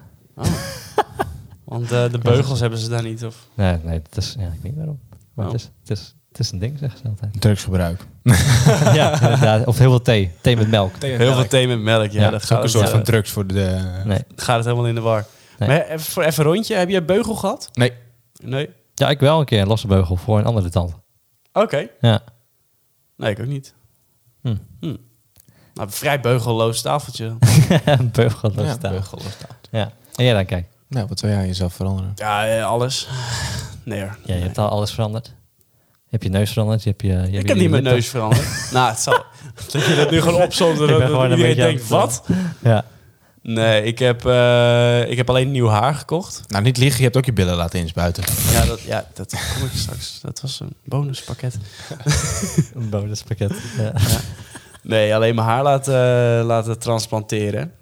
Speaker 2: Want eh, de beugels hebben ze daar niet, of...
Speaker 3: Nee, nee dat is, ja, ik weet niet waarom. Maar
Speaker 2: Oh.
Speaker 3: het, is, het, is, het is een ding, zeggen ze altijd.
Speaker 4: Drugsgebruik.
Speaker 3: ja, inderdaad. Of heel veel thee. Thee met melk.
Speaker 2: Heel veel thee met melk, ja.
Speaker 3: Ja,
Speaker 2: dat
Speaker 4: Het is ook
Speaker 2: gaat,
Speaker 4: een soort
Speaker 2: het,
Speaker 4: van
Speaker 2: eh,
Speaker 4: drugs voor de...
Speaker 3: Nee.
Speaker 2: gaat het helemaal in de war.
Speaker 3: Nee.
Speaker 2: Maar even, voor even een rondje, heb je een beugel gehad?
Speaker 4: Nee.
Speaker 2: Nee? Oké.
Speaker 3: Ja, ik wel een keer een losse beugel voor een andere tand. Ja.
Speaker 2: Nee, ik ook niet.
Speaker 3: Hm.
Speaker 2: Hm. Nou, een vrij beugelloos tafeltje.
Speaker 3: een beugelloos
Speaker 4: Ja,
Speaker 3: ja,
Speaker 4: beugel of taal.
Speaker 3: Ja. En jij dan, kijk.
Speaker 4: Nou, wat zou jij aan jezelf veranderen?
Speaker 2: ja, eh, alles. Nee hoor.
Speaker 3: Ja, je
Speaker 2: Nee.
Speaker 3: hebt al alles veranderd. Je hebt je neus veranderd. Je hebt je, je hebt
Speaker 2: Ik
Speaker 3: je
Speaker 2: heb niet mijn
Speaker 3: lippen.
Speaker 2: neus veranderd. nou, het zal... Dat je dat nu gewoon opzomt en
Speaker 3: Ik ben
Speaker 2: dat
Speaker 3: gewoon een
Speaker 2: iedereen
Speaker 3: beetje
Speaker 2: denkt,
Speaker 3: aan het-
Speaker 2: wat?
Speaker 3: Ja.
Speaker 2: Nee, ik heb, eh, ik heb alleen nieuw haar gekocht.
Speaker 4: Nou, niet liegen. Je hebt ook je billen laten inspuiten.
Speaker 2: Ja, dat, ja, dat kom ik straks. Dat was een bonuspakket.
Speaker 3: Een bonuspakket. Ja.
Speaker 2: Nee, alleen mijn haar laten, eh, laten transplanteren.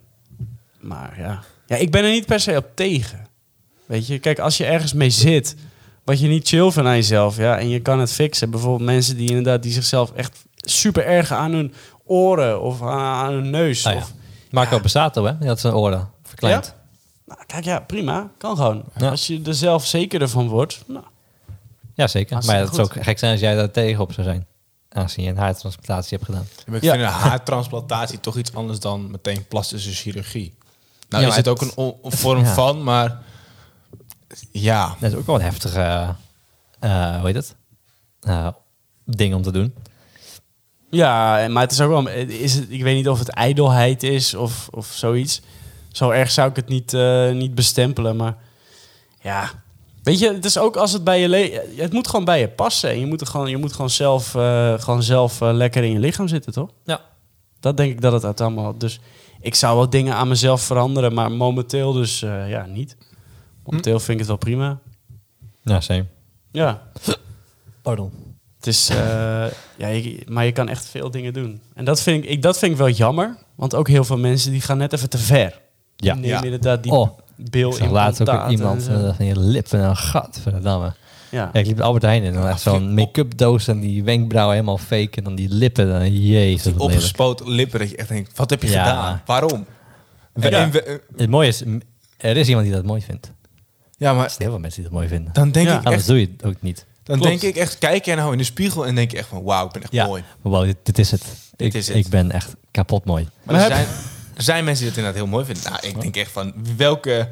Speaker 2: Maar ja. ja, ik ben er niet per se op tegen. Weet je, kijk, als je ergens mee zit, wat je niet chill vindt aan jezelf, ja, en je kan het fixen. Bijvoorbeeld mensen die inderdaad die zichzelf echt super erg aan hun oren of aan, aan hun neus.
Speaker 3: Ah, ja.
Speaker 2: of,
Speaker 3: Marco Bassato, hè? Die had zijn oren verkleind.
Speaker 2: Ja? nou, kijk, ja, prima. Kan gewoon.
Speaker 3: Ja.
Speaker 2: Als je er zelf zekerder van wordt. Nou,
Speaker 3: Ja, zeker.
Speaker 2: Hartstikke
Speaker 3: maar dat
Speaker 2: Ah, goed.
Speaker 3: zou ook gek zijn als jij daar tegen op zou zijn. Aangezien je een haartransplantatie hebt gedaan.
Speaker 4: Ik
Speaker 2: Ja.
Speaker 4: vind een haartransplantatie toch iets anders dan meteen plastische chirurgie. Nou,
Speaker 3: Ja,
Speaker 4: is
Speaker 3: maar
Speaker 4: het ook een o- een vorm
Speaker 3: ja.
Speaker 4: van, maar... Ja.
Speaker 3: Dat is ook wel een heftige... eh, hoe heet het? Eh, ding om te doen.
Speaker 2: Ja, en- maar het is ook wel. Is het, ik weet niet of het ijdelheid is of, of zoiets. Zo erg zou ik het niet, eh, niet bestempelen. Maar ja. Weet je, het is ook als het bij je. le- Het moet gewoon bij je passen. En je moet, er gewoon, je moet gewoon zelf, eh, gewoon zelf eh, lekker in je lichaam zitten, toch?
Speaker 3: Ja.
Speaker 2: Dat denk ik dat het uit allemaal. Dus ik zou wel dingen aan mezelf veranderen. Maar momenteel dus eh, ja, niet. Momenteel vind ik het wel prima.
Speaker 3: Ja, same.
Speaker 2: Ja.
Speaker 3: Pardon.
Speaker 2: Het is, eh, ja, je- maar je kan echt veel dingen doen. En dat vind, ik, ik, dat vind ik wel jammer. Want ook heel veel mensen die gaan net even te ver.
Speaker 3: Ja.
Speaker 2: Die nemen
Speaker 4: Ja.
Speaker 2: inderdaad die
Speaker 3: Oh,
Speaker 2: bil
Speaker 3: Ik zag
Speaker 2: in
Speaker 3: laatst ook
Speaker 2: implantaten
Speaker 3: iemand eh,
Speaker 2: en zo.
Speaker 3: van je lippen en een gat. Verdamme.
Speaker 1: Ja.
Speaker 3: Ja, ik liep de Albert Heijn in en dan echt zo'n make-up doos en die wenkbrauwen helemaal fake en dan die lippen. Dan, jezus, wat lelijk.
Speaker 4: Opgespoten lippen dat je echt denkt, wat heb je
Speaker 3: Ja.
Speaker 4: gedaan? Waarom? En- en we- eh, Ja.
Speaker 3: Het mooie is, m- er is iemand die dat mooi vindt. Er
Speaker 4: maar
Speaker 3: zijn heel veel mensen die dat mooi vinden.
Speaker 4: dan denk
Speaker 1: Ja.
Speaker 4: ik
Speaker 3: Anders
Speaker 4: echt,
Speaker 3: doe je het ook niet.
Speaker 4: dan
Speaker 1: klopt.
Speaker 4: denk ik echt kijk je nou in de spiegel en denk je echt van, wauw, ik ben echt
Speaker 3: Ja,
Speaker 4: mooi.
Speaker 3: maar wow, dit, dit is het.
Speaker 4: Dit
Speaker 3: ik,
Speaker 4: is het.
Speaker 3: ik ben echt kapot mooi.
Speaker 4: Maar
Speaker 2: Maar
Speaker 4: er,
Speaker 2: heb-
Speaker 4: zijn, er zijn mensen die dat inderdaad heel mooi vinden. Nou, ik denk echt van, welke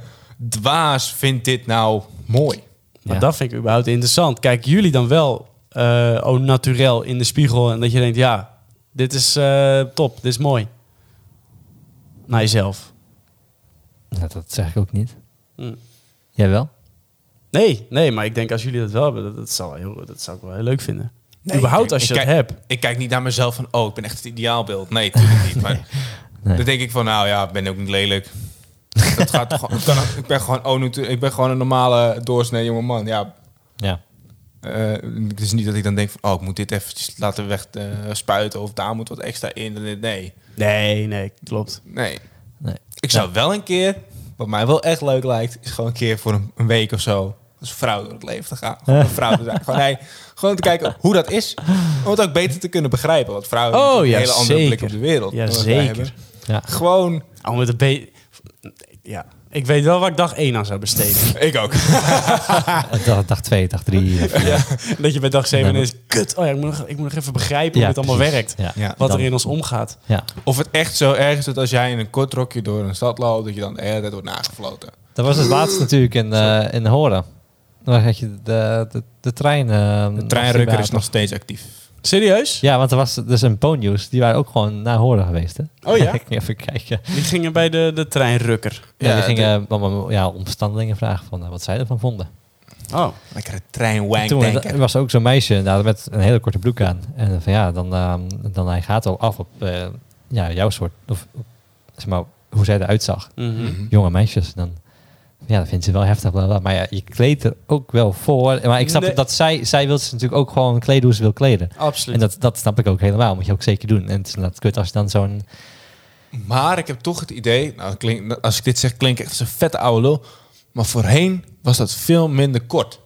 Speaker 4: dwaas vindt dit nou mooi?
Speaker 2: Maar
Speaker 3: Ja.
Speaker 2: dat vind ik überhaupt interessant. Kijk, jullie dan wel eh au naturel in de spiegel en dat je denkt, ja, dit is eh, top, dit is mooi. Naar jezelf.
Speaker 3: Nou, dat zeg ik ook niet.
Speaker 2: Hm.
Speaker 3: Jij wel?
Speaker 2: Nee, nee, maar ik denk als jullie dat wel hebben, dat, dat, zou, heel, dat zou ik wel heel leuk vinden.
Speaker 4: Nee,
Speaker 2: überhaupt
Speaker 4: ik-
Speaker 2: als je
Speaker 4: ik
Speaker 2: dat
Speaker 4: kijk-
Speaker 2: hebt.
Speaker 4: Ik kijk niet naar mezelf van, oh, ik ben echt het ideaalbeeld. Nee, natuurlijk niet. Maar
Speaker 3: Nee.
Speaker 4: dan denk ik van, nou ja, ik ben ook niet lelijk. Dat gaat toch, ik, kan- ik ben gewoon, oh, nu- ik ben gewoon een normale doorsnee jonge man. Ja,
Speaker 3: Ja.
Speaker 4: eh, het is niet dat ik dan denk van, oh, ik moet dit eventjes laten weg eh, spuiten of daar moet wat extra in. Nee,
Speaker 2: Nee, nee, klopt.
Speaker 4: nee.
Speaker 3: Nee.
Speaker 4: Ik zou wel een keer, wat mij wel echt leuk lijkt, is gewoon een keer voor een, een week of zo als vrouw door het leven te gaan. Gewoon een vrouw te zijn. Gewoon, nee, gewoon te kijken hoe dat is. Om het ook beter te kunnen begrijpen. Want vrouwen
Speaker 2: Oh,
Speaker 4: hebben
Speaker 2: ja,
Speaker 4: natuurlijk een hele andere blik
Speaker 2: zeker.
Speaker 4: op de wereld.
Speaker 2: Ja,
Speaker 4: dan wat wij
Speaker 2: zeker.
Speaker 4: hebben.
Speaker 3: Ja.
Speaker 4: Gewoon,
Speaker 2: Al Oh, met een beetje... Ja, ik weet wel waar ik dag 1 aan zou besteden.
Speaker 4: ik ook.
Speaker 3: Dag, dag twee, dag drie. of-
Speaker 2: dat je bij dag 7
Speaker 3: Nee,
Speaker 2: is, kut, oh ja, ik moet nog, ik moet nog even begrijpen
Speaker 3: Ja,
Speaker 2: hoe het allemaal
Speaker 3: precies.
Speaker 2: werkt.
Speaker 3: Ja.
Speaker 4: Ja.
Speaker 2: Wat
Speaker 3: Dan-
Speaker 2: er in ons omgaat.
Speaker 3: Ja.
Speaker 4: Of het echt zo erg is dat als jij in een kort rokje door een stad loopt, dat je dan de hele tijd wordt nagefloten.
Speaker 3: Dat was het laatste natuurlijk in, eh in Horen. Dan had je de, de, de trein... eh,
Speaker 4: De treinrukker is
Speaker 3: afzichtbaar.
Speaker 4: nog steeds actief.
Speaker 2: Serieus?
Speaker 3: Ja, want er was dus een Ponyus. Die waren ook gewoon naar Horen geweest, hè?
Speaker 2: Oh ja?
Speaker 3: ik ging even kijken.
Speaker 2: Die gingen bij de, de treinrukker.
Speaker 3: Ja,
Speaker 4: Ja,
Speaker 3: die
Speaker 4: de-
Speaker 3: gingen allemaal ja, omstandelingen vragen van eh, wat zij ervan vonden.
Speaker 2: Oh.
Speaker 4: Lekkere treinwank,
Speaker 3: Toen
Speaker 4: denk ik.
Speaker 3: er was er ook zo'n meisje nou, met een hele korte broek aan. En van ja, dan, ehm, dan hij gaat al af op eh, ja, jouw soort. Of op, zeg maar, hoe zij eruit zag.
Speaker 2: Mhm.
Speaker 3: Jonge meisjes. Dan, ja, dat vindt ze wel heftig. Bla, bla. Maar ja, je kleedt er ook wel voor. Maar ik snap
Speaker 2: Nee.
Speaker 3: dat zij, zij wil ze natuurlijk ook gewoon kleden hoe ze wil kleden. En
Speaker 2: Absoluut.
Speaker 3: dat, dat snap ik ook helemaal. Moet je ook zeker doen. En het is inderdaad kut als je dan zo'n...
Speaker 4: Maar ik heb toch het idee, nou, dat klinkt- als ik dit zeg, klink ik echt als een vette oude lul. Maar voorheen was dat veel minder kort.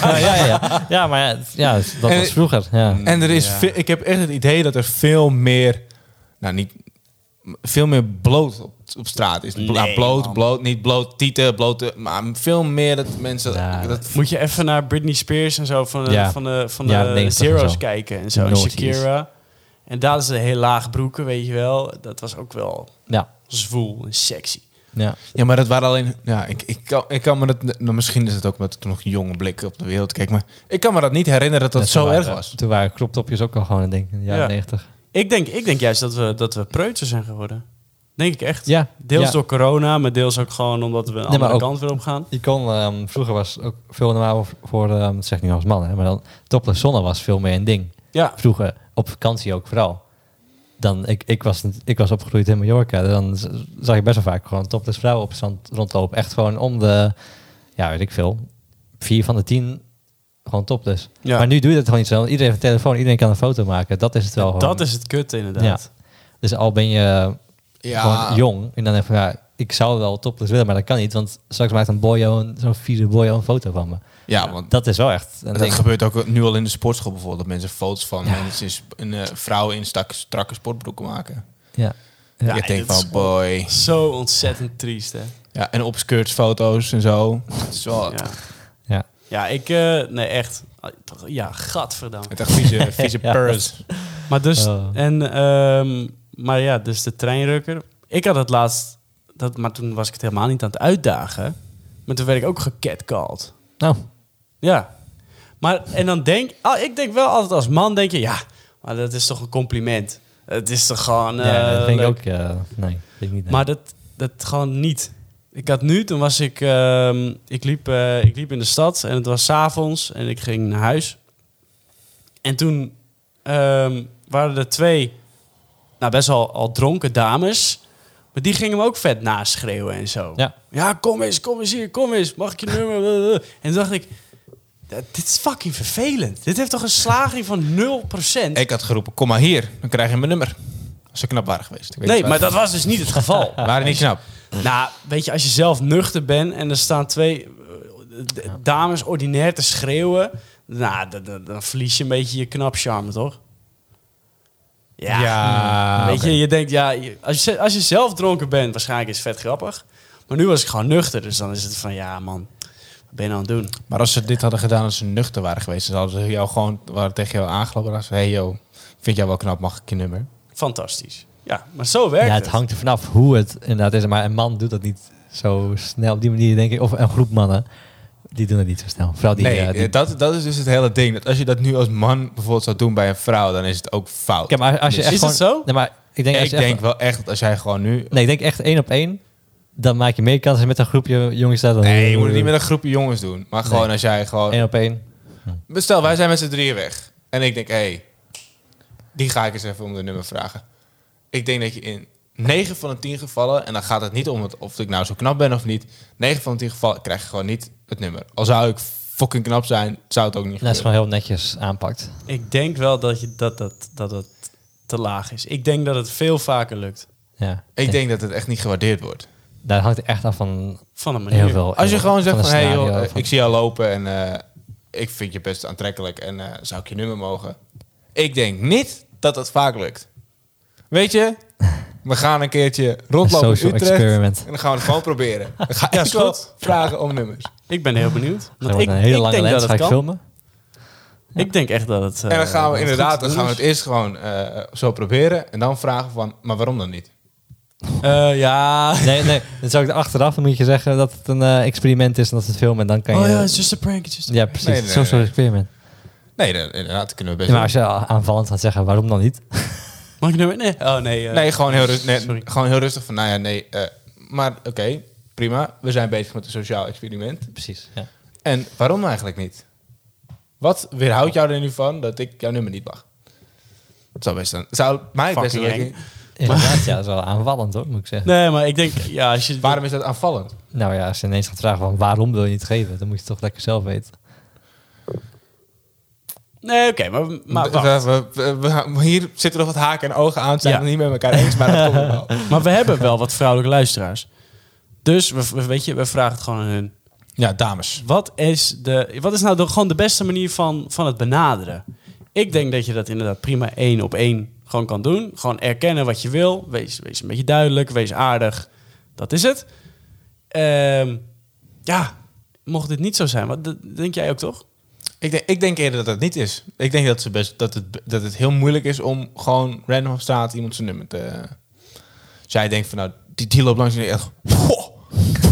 Speaker 3: ja, ja, ja. ja, maar ja, het- ja, dat
Speaker 4: En-
Speaker 3: was vroeger. Ja.
Speaker 4: En er is ve- ik heb echt het idee dat er veel meer, nou niet, veel meer bloot op, op straat is. Bla-
Speaker 2: Nee,
Speaker 4: bloot,
Speaker 2: man.
Speaker 4: bloot, niet bloot, tieten, bloot, eh, maar veel meer dat mensen.
Speaker 3: Ja.
Speaker 4: dat,
Speaker 2: Moet je even naar Britney Spears en zo van de,
Speaker 3: Ja.
Speaker 2: van de, van de
Speaker 3: Ja, 90 en
Speaker 2: Zero's
Speaker 3: zo.
Speaker 2: kijken en
Speaker 3: De
Speaker 2: zo. En
Speaker 3: noughties.
Speaker 2: Shakira. En daar is ze heel laag broeken, weet je wel. Dat was ook wel
Speaker 3: Ja.
Speaker 2: zwoel en sexy.
Speaker 3: Ja.
Speaker 4: ja, maar dat waren alleen. Ja, ik, ik, kan, ik kan me dat. nou, misschien is het ook omdat ik toen nog een jonge blik op de wereld keek, maar ik kan me dat niet herinneren dat dat,
Speaker 3: toen
Speaker 4: zo erg
Speaker 3: waren-
Speaker 4: was.
Speaker 3: Toen waren kroptopjes ook al gewoon een ding in de jaren
Speaker 2: Ja.
Speaker 3: 90.
Speaker 2: Ik denk, ik denk juist dat we, dat we preutsen zijn geworden. Denk ik echt.
Speaker 3: Ja,
Speaker 2: Deels
Speaker 3: ja.
Speaker 2: door corona, maar deels ook gewoon omdat we een
Speaker 3: maar
Speaker 2: andere
Speaker 3: ook-
Speaker 2: kant willen opgaan.
Speaker 3: Je kon, ehm, vroeger was ook veel normaal voor, ehm, dat zeg ik nu als man, hè, maar dan topless zonne was veel meer een ding.
Speaker 2: Ja.
Speaker 3: Vroeger, op vakantie ook vooral. Dan, ik, ik, was, ik was opgegroeid in Mallorca, dan z- zag je best wel vaak gewoon topless vrouwen op strand rondlopen. Echt gewoon om de, ja weet ik veel, vier van de tien gewoon topless.
Speaker 2: Ja.
Speaker 3: Maar nu doe je dat gewoon niet zo. Iedereen heeft een telefoon, iedereen kan een foto maken. Dat is het wel gewoon.
Speaker 2: Dat is het kut inderdaad.
Speaker 3: Dus al ben je
Speaker 4: Ja.
Speaker 3: gewoon jong en dan even, ja, ik zou wel topless willen, maar dat kan niet, want straks maakt een boyo, een- zo'n vierde boyo een foto van me.
Speaker 4: Ja, want
Speaker 3: Dat is wel echt. een
Speaker 4: Dat
Speaker 3: ding.
Speaker 4: gebeurt ook nu al in de sportschool bijvoorbeeld. Dat mensen foto's van
Speaker 3: Ja.
Speaker 4: mensen in sp- in, eh, vrouwen in stak, strakke sportbroeken maken.
Speaker 3: ja.
Speaker 4: Ja,
Speaker 3: Ja,
Speaker 4: ik denk
Speaker 2: dat is-
Speaker 4: van boy.
Speaker 2: Zo ontzettend triest, hè.
Speaker 4: Ja, en obscures foto's en zo. Het is wel
Speaker 2: Ja,
Speaker 3: Ja.
Speaker 2: ja ik... eh, nee, echt. Ja, gadverdamme.
Speaker 4: het echt vieze, vieze
Speaker 3: Ja.
Speaker 4: purrs.
Speaker 2: Maar dus,
Speaker 3: Oh.
Speaker 2: en, ehm, maar ja, dus de treinrukker. Ik had het laatst, dat, maar toen was ik het helemaal niet aan het uitdagen. Maar toen werd ik ook gecatcalled.
Speaker 3: Nou,
Speaker 2: Ja. Maar, en dan denk ah, ik, denk wel altijd als man, denk je, ja, maar dat is toch een compliment. Het is toch gewoon.
Speaker 3: ja, dat
Speaker 2: eh,
Speaker 3: vind ik
Speaker 2: leuk.
Speaker 3: ook. eh, nee, vind ik niet. nee.
Speaker 2: Maar dat, dat gewoon niet. Ik had nu, toen was ik, ehm, ik, liep, eh, ik liep in de stad en het was 's avonds en ik ging naar huis. En toen ehm, waren er twee, nou best wel al dronken dames, maar die gingen me ook vet naschreeuwen en zo.
Speaker 3: Ja.
Speaker 2: ja, kom eens, kom eens hier, kom eens, mag ik je nummer? En toen dacht ik, "Ja, dit is fucking vervelend. Dit heeft toch een slaging van 0%?
Speaker 4: Ik had geroepen, kom maar hier. Dan krijg je mijn nummer. Als ze knap waren geweest. Ik weet
Speaker 2: Nee,
Speaker 4: niet
Speaker 2: maar
Speaker 4: waar-
Speaker 2: dat was dus niet het geval.
Speaker 4: waren niet knap.
Speaker 2: Nou, weet je, als je zelf nuchter bent en er staan twee eh, d- dames ordinair te schreeuwen, nou, d- d- dan verlies je een beetje je knap charme, toch? Ja.
Speaker 4: Ja,
Speaker 2: Weet je, je denkt, ja, je- als je, als je zelf dronken bent, waarschijnlijk is het vet grappig. Maar nu was ik gewoon nuchter, dus dan is het van, ja man, wat ben je nou aan het doen?
Speaker 4: Maar als ze dit hadden gedaan als ze nuchter waren geweest, dan hadden ze jou gewoon waren tegen jou aangelopen. Dan ze, hey yo, vind jij wel knap, mag ik je nummer?
Speaker 2: Fantastisch. Ja, maar zo werkt
Speaker 3: Ja,
Speaker 2: het.
Speaker 3: het hangt er vanaf hoe het inderdaad is. Maar een man doet dat niet zo snel op die manier, denk ik. Of een groep mannen, die doen dat niet zo snel. Vooral die...
Speaker 4: nee,
Speaker 3: eh, die-
Speaker 4: eh, dat, dat is dus het hele ding. Dat als je dat nu als man bijvoorbeeld zou doen bij een vrouw, dan is het ook fout.
Speaker 3: Ja, maar als je
Speaker 4: Is
Speaker 3: echt
Speaker 2: het
Speaker 3: gewoon-
Speaker 2: zo?
Speaker 3: Nee, maar ik denk, als
Speaker 4: ik
Speaker 3: je echt-
Speaker 4: denk wel echt dat als jij gewoon nu...
Speaker 3: Nee, ik denk echt één op één. Dan maak je meer kans met een groepje jongens. daar Dan
Speaker 4: Nee, je moet het niet met een groepje jongens doen. Maar gewoon
Speaker 3: Nee.
Speaker 4: als jij gewoon...
Speaker 3: één op één.
Speaker 4: Stel, wij zijn met z'n drieën weg. En ik denk, hé, hey, die ga ik eens even om de nummer vragen. Ik denk dat je in 9 van de 10 gevallen, en dan gaat het niet om het, of ik nou zo knap ben of niet. 9 van de 10 gevallen krijg je gewoon niet het nummer. Al zou ik fucking knap zijn, zou het ook niet
Speaker 3: Dat is
Speaker 4: gebeuren.
Speaker 3: gewoon heel netjes aanpakt.
Speaker 2: Ik denk wel dat, je, dat, dat, dat het te laag is. Ik denk dat het veel vaker lukt.
Speaker 3: Ja.
Speaker 4: Ik denk dat het echt niet gewaardeerd wordt.
Speaker 3: Daar hangt echt af van
Speaker 2: Van een manier.
Speaker 3: heel veel.
Speaker 4: Als je
Speaker 3: heel-
Speaker 4: gewoon zegt
Speaker 3: een
Speaker 4: van, hé
Speaker 3: scenario,
Speaker 4: joh, eh,
Speaker 3: van-
Speaker 4: ik zie jou lopen en eh, ik vind je best aantrekkelijk en eh, zou ik je nummer mogen? Ik denk niet dat dat vaak lukt. Weet je, we gaan een keertje rondlopen
Speaker 3: Een
Speaker 4: in
Speaker 3: social
Speaker 4: Utrecht
Speaker 3: experiment.
Speaker 4: en dan gaan we het gewoon proberen. Dan ga
Speaker 2: Ja,
Speaker 4: ik
Speaker 2: is
Speaker 4: wel
Speaker 2: goed.
Speaker 4: vragen om nummers.
Speaker 3: Eh,
Speaker 2: Ik ben heel benieuwd.
Speaker 3: Gewoon
Speaker 2: Want ik,
Speaker 3: een hele
Speaker 2: ik
Speaker 3: lange
Speaker 2: denk
Speaker 3: lens
Speaker 2: dat
Speaker 3: ga
Speaker 2: het kan.
Speaker 3: ik filmen.
Speaker 2: Ik denk echt dat het... eh,
Speaker 4: en dan gaan we
Speaker 2: dat het
Speaker 4: inderdaad,
Speaker 2: goed
Speaker 4: dan
Speaker 2: te
Speaker 4: gaan we
Speaker 2: doen
Speaker 4: het eerst gewoon eh, zo proberen en dan vragen van, maar waarom dan niet?
Speaker 2: is. Eh, ja.
Speaker 3: Nee, nee. Dan zou ik er achteraf, dan moet je zeggen dat het een eh, experiment is en dat het filmen. En dan kan
Speaker 2: Oh
Speaker 3: je...
Speaker 2: ja, het is just a prank. it's just a-
Speaker 3: ja, precies.
Speaker 4: Nee, nee,
Speaker 3: social
Speaker 4: nee.
Speaker 3: experiment.
Speaker 4: Nee, dan- inderdaad, dat kunnen we
Speaker 3: Ja,
Speaker 4: best
Speaker 3: maar als je a- aanvallend gaat zeggen, waarom dan niet?
Speaker 2: Mag ik nummer? Nee. Oh nee. eh,
Speaker 4: Nee, gewoon heel, rust, nee,
Speaker 2: Sorry.
Speaker 4: gewoon heel rustig van, nou ja, nee, eh, maar oké, prima. We zijn bezig met een sociaal experiment.
Speaker 3: Precies, ja.
Speaker 4: En waarom eigenlijk niet? Wat weerhoudt jou er nu van dat ik jouw nummer niet mag? Het zou best een, zou mij best
Speaker 2: Fucking
Speaker 4: een
Speaker 3: Inderdaad, ja, dat is wel aanvallend hoor, moet ik zeggen.
Speaker 2: Nee, maar ik denk... Ja, als je...
Speaker 4: Waarom is dat aanvallend?
Speaker 3: Nou ja, als je ineens gaat vragen van waarom wil je niet geven, dan moet je het toch lekker zelf weten.
Speaker 2: Nee, oké. maar maar
Speaker 4: D-
Speaker 2: wacht.
Speaker 4: we, we- we- we- hier zitten nog wat haken en ogen aan. Zijn
Speaker 2: Ja.
Speaker 4: we het niet met elkaar eens, maar dat komt wel.
Speaker 2: Maar we hebben wel wat vrouwelijke luisteraars. Dus, we, we- weet je, we vragen het gewoon aan hun.
Speaker 4: Ja, dames.
Speaker 2: Wat is, de, wat is nou de, gewoon de beste manier van, van het benaderen? Ik denk dat je dat inderdaad prima één op één gewoon kan doen. Gewoon erkennen wat je wil. Wees, wees een beetje duidelijk, wees aardig. Dat is het. Ehm, ja, mocht dit niet zo zijn, wat dat denk jij ook toch?
Speaker 4: Ik denk, ik denk eerder dat dat niet is. Ik denk dat, ze best, dat, het, dat het heel moeilijk is om gewoon random op straat iemand zijn nummer te... Zij denkt van nou, die, die loopt langs en die echt... Wow!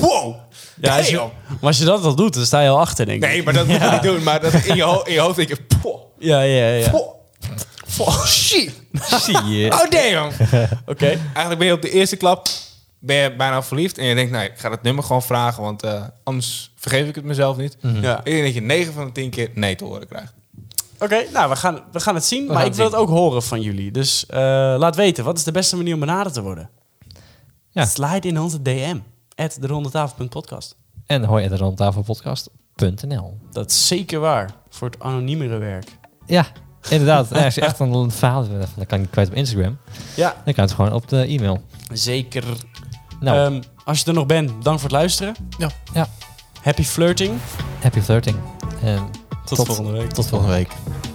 Speaker 4: wow.
Speaker 2: Ja, als je,
Speaker 4: Damn.
Speaker 2: maar als je dat al doet, dan sta je al achter, denk ik.
Speaker 4: Nee, maar dat moet je niet doen. Maar dat in, je ho- in je hoofd denk je... Poh,
Speaker 2: Ja, ja, ja. Oké.
Speaker 4: poh, poh, shit. Oh damn. Eigenlijk ben je op de eerste klap ben je bijna verliefd. En je denkt, nee, ik ga dat nummer gewoon vragen. Want eh, anders vergeef ik het mezelf niet.
Speaker 2: Ja.
Speaker 4: Ik denk dat je 9 van de 10 keer nee te horen krijgt.
Speaker 2: Oké, nou, we gaan, we gaan het zien. maar
Speaker 3: gaan
Speaker 2: ik
Speaker 3: het
Speaker 2: wil het
Speaker 3: zien.
Speaker 2: ook horen van jullie. Dus eh, laat weten, wat is de beste manier om benaderd te worden?
Speaker 3: Ja.
Speaker 2: Slide in onze DM. At de
Speaker 3: En hoor je de rondtafelpodcast.nl.
Speaker 2: Dat is zeker waar. Voor het anoniemere werk.
Speaker 3: Ja, inderdaad. Ja, als je echt een verhaal hebt, dan kan je het kwijt op Instagram.
Speaker 2: Ja,
Speaker 3: Dan kan het gewoon op de e-mail.
Speaker 2: zeker.
Speaker 3: Nou,
Speaker 2: Ehm, als je er nog bent, bedankt voor het luisteren.
Speaker 4: Ja.
Speaker 3: Ja.
Speaker 2: Happy flirting.
Speaker 3: happy flirting. En
Speaker 2: volgende week.
Speaker 3: Tot volgende week.
Speaker 4: week.